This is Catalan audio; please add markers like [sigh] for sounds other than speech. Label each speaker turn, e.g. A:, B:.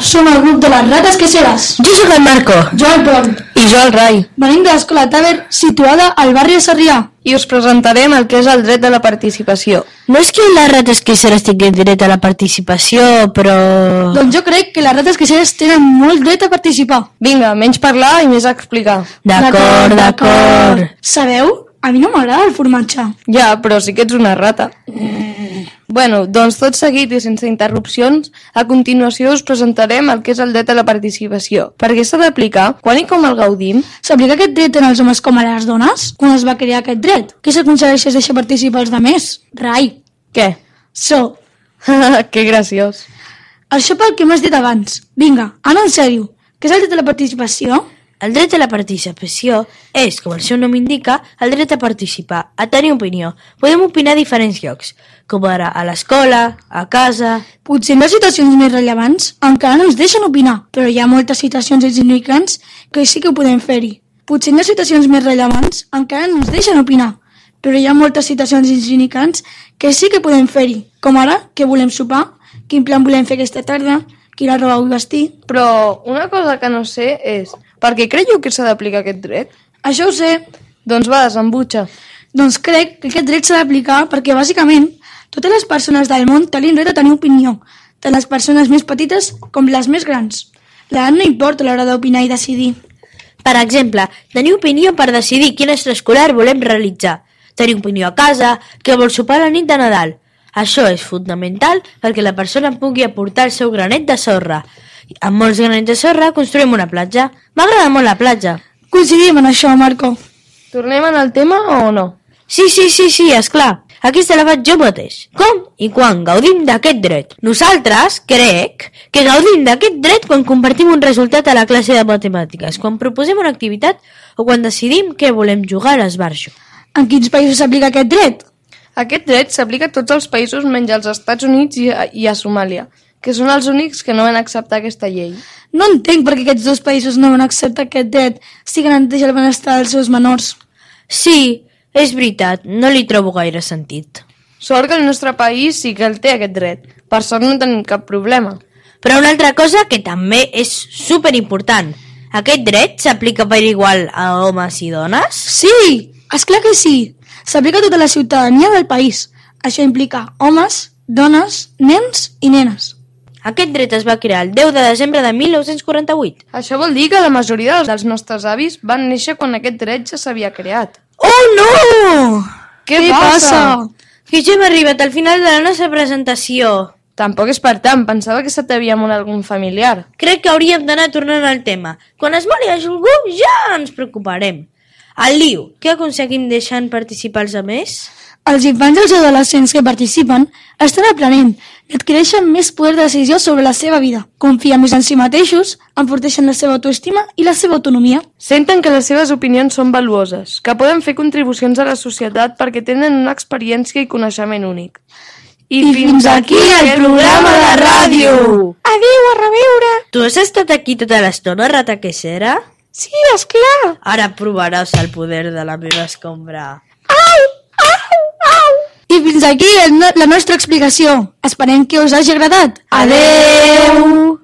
A: Som el grup de les rates que seràs.
B: Jo sóc el Marco.
A: Jo el Pol.
B: I jo el Rai.
A: Venim de l'escola Taver, situada al barri de Sarrià.
B: Ah.
C: I us presentarem el que és el dret de la participació.
B: No és que les rates queixeres tinguin dret a la participació, però...
A: Doncs jo crec que les rates que seràs tenen molt dret a participar.
C: Vinga, menys parlar i més explicar.
B: D'acord, d'acord.
A: Sabeu? A mi no m'agrada el formatge.
C: Ja, però sí que ets una rata. Bueno, doncs tot seguit i sense interrupcions, a continuació us presentarem el que és el dret a la participació. Per què s'ha d'aplicar? Quan i com el gaudim?
A: S'aplica aquest dret tant als homes com a les dones? Quan es va crear aquest dret? Què s'aconsegueix si es deixa participar els demés? Rai.
C: Què? [laughs]
A: So,
C: que graciós.
A: això pel que m'has dit abans. Vinga, ara en sèrio. Què és el dret de la participació?
D: El dret a la participació és, com el seu nom indica, el dret a participar, a tenir opinió. Podem opinar a diferents llocs, com ara a l'escola, a casa...
A: Potser en les situacions més rellevants encara no ens deixen opinar, però hi ha moltes situacions insignificants que sí que ho podem fer-hi. Potser en les situacions més rellevants encara no ens deixen opinar, però hi ha moltes situacions insignificants que sí que podem fer-hi, com ara què volem sopar, quin plan volem fer aquesta tarda, quina roba vull vestir...
C: Però una cosa que no sé és... Per què creieu que s'ha d'aplicar aquest dret?
A: Això ho sé,
C: Doncs va, desembutxa.
A: Doncs crec que aquest dret s'ha d'aplicar perquè, bàsicament, totes les persones del món tenen dret a tenir opinió, tant les persones més petites com les més grans. L'edat no importa a l'hora d'opinar i decidir.
D: Per exemple, tenir opinió per decidir quin extraescolar volem realitzar. Tenir opinió a casa, què vol sopar la nit de Nadal. Això és fundamental perquè la persona pugui aportar el seu granet de sorra. Amb molts granets de sorra construïm una platja. M'agrada molt la platja.
A: Coincidim en això, Marco.
C: Tornem en el tema o no?
D: Sí, sí, sí, sí, és clar. Aquí se la vaig jo mateix. Com i quan gaudim d'aquest dret? Nosaltres crec que gaudim d'aquest dret quan compartim un resultat a la classe de matemàtiques, quan proposem una activitat o quan decidim què volem jugar a l'esbarjo.
A: En quins països s'aplica aquest dret?
C: Aquest dret s'aplica a tots els països menys als Estats Units i a, i a Somàlia, que són els únics que no van acceptar aquesta llei.
A: No entenc per què aquests dos països no van acceptar aquest dret si garanteix el benestar dels seus menors.
D: Sí, és veritat, no li trobo gaire sentit.
C: Sort que el nostre país sí que el té aquest dret. Per sort no tenim cap problema.
D: Però una altra cosa que també és superimportant. Aquest dret s'aplica per igual a homes i dones?
A: Sí, és clar que sí. S'aplica a tota la ciutadania del país. Això implica homes, dones, nens i nenes.
D: Aquest dret es va crear el 10 de desembre de 1948.
C: Això vol dir que la majoria dels nostres avis van néixer quan aquest dret ja s'havia creat.
D: Oh no!
C: Què,
D: Que ja hem arribat al final de la nostra presentació.
C: Tampoc és per tant, pensava que se t'havia mort algun familiar.
D: Crec que hauríem d'anar tornant al tema. Quan es mori algú, ja ens preocuparem. El liu, què aconseguim deixant participar els altres?
A: Els infants i els adolescents que participen estan aprenent i adquireixen més poder de decisió sobre la seva vida. Confien més en si mateixos, enforteixen la seva autoestima i la seva autonomia.
C: Senten que les seves opinions són valuoses, que poden fer contribucions a la societat perquè tenen una experiència i coneixement únic.
A: I fins aquí el programa de ràdio. Adéu, a reveure!
D: Tu has estat aquí tota l'estona, rata que serà?
A: Sí, és clar.
D: Ara provaràs el poder de la meva escombra.
A: I fins aquí el no la nostra explicació. Esperem que us hagi agradat. Adéu!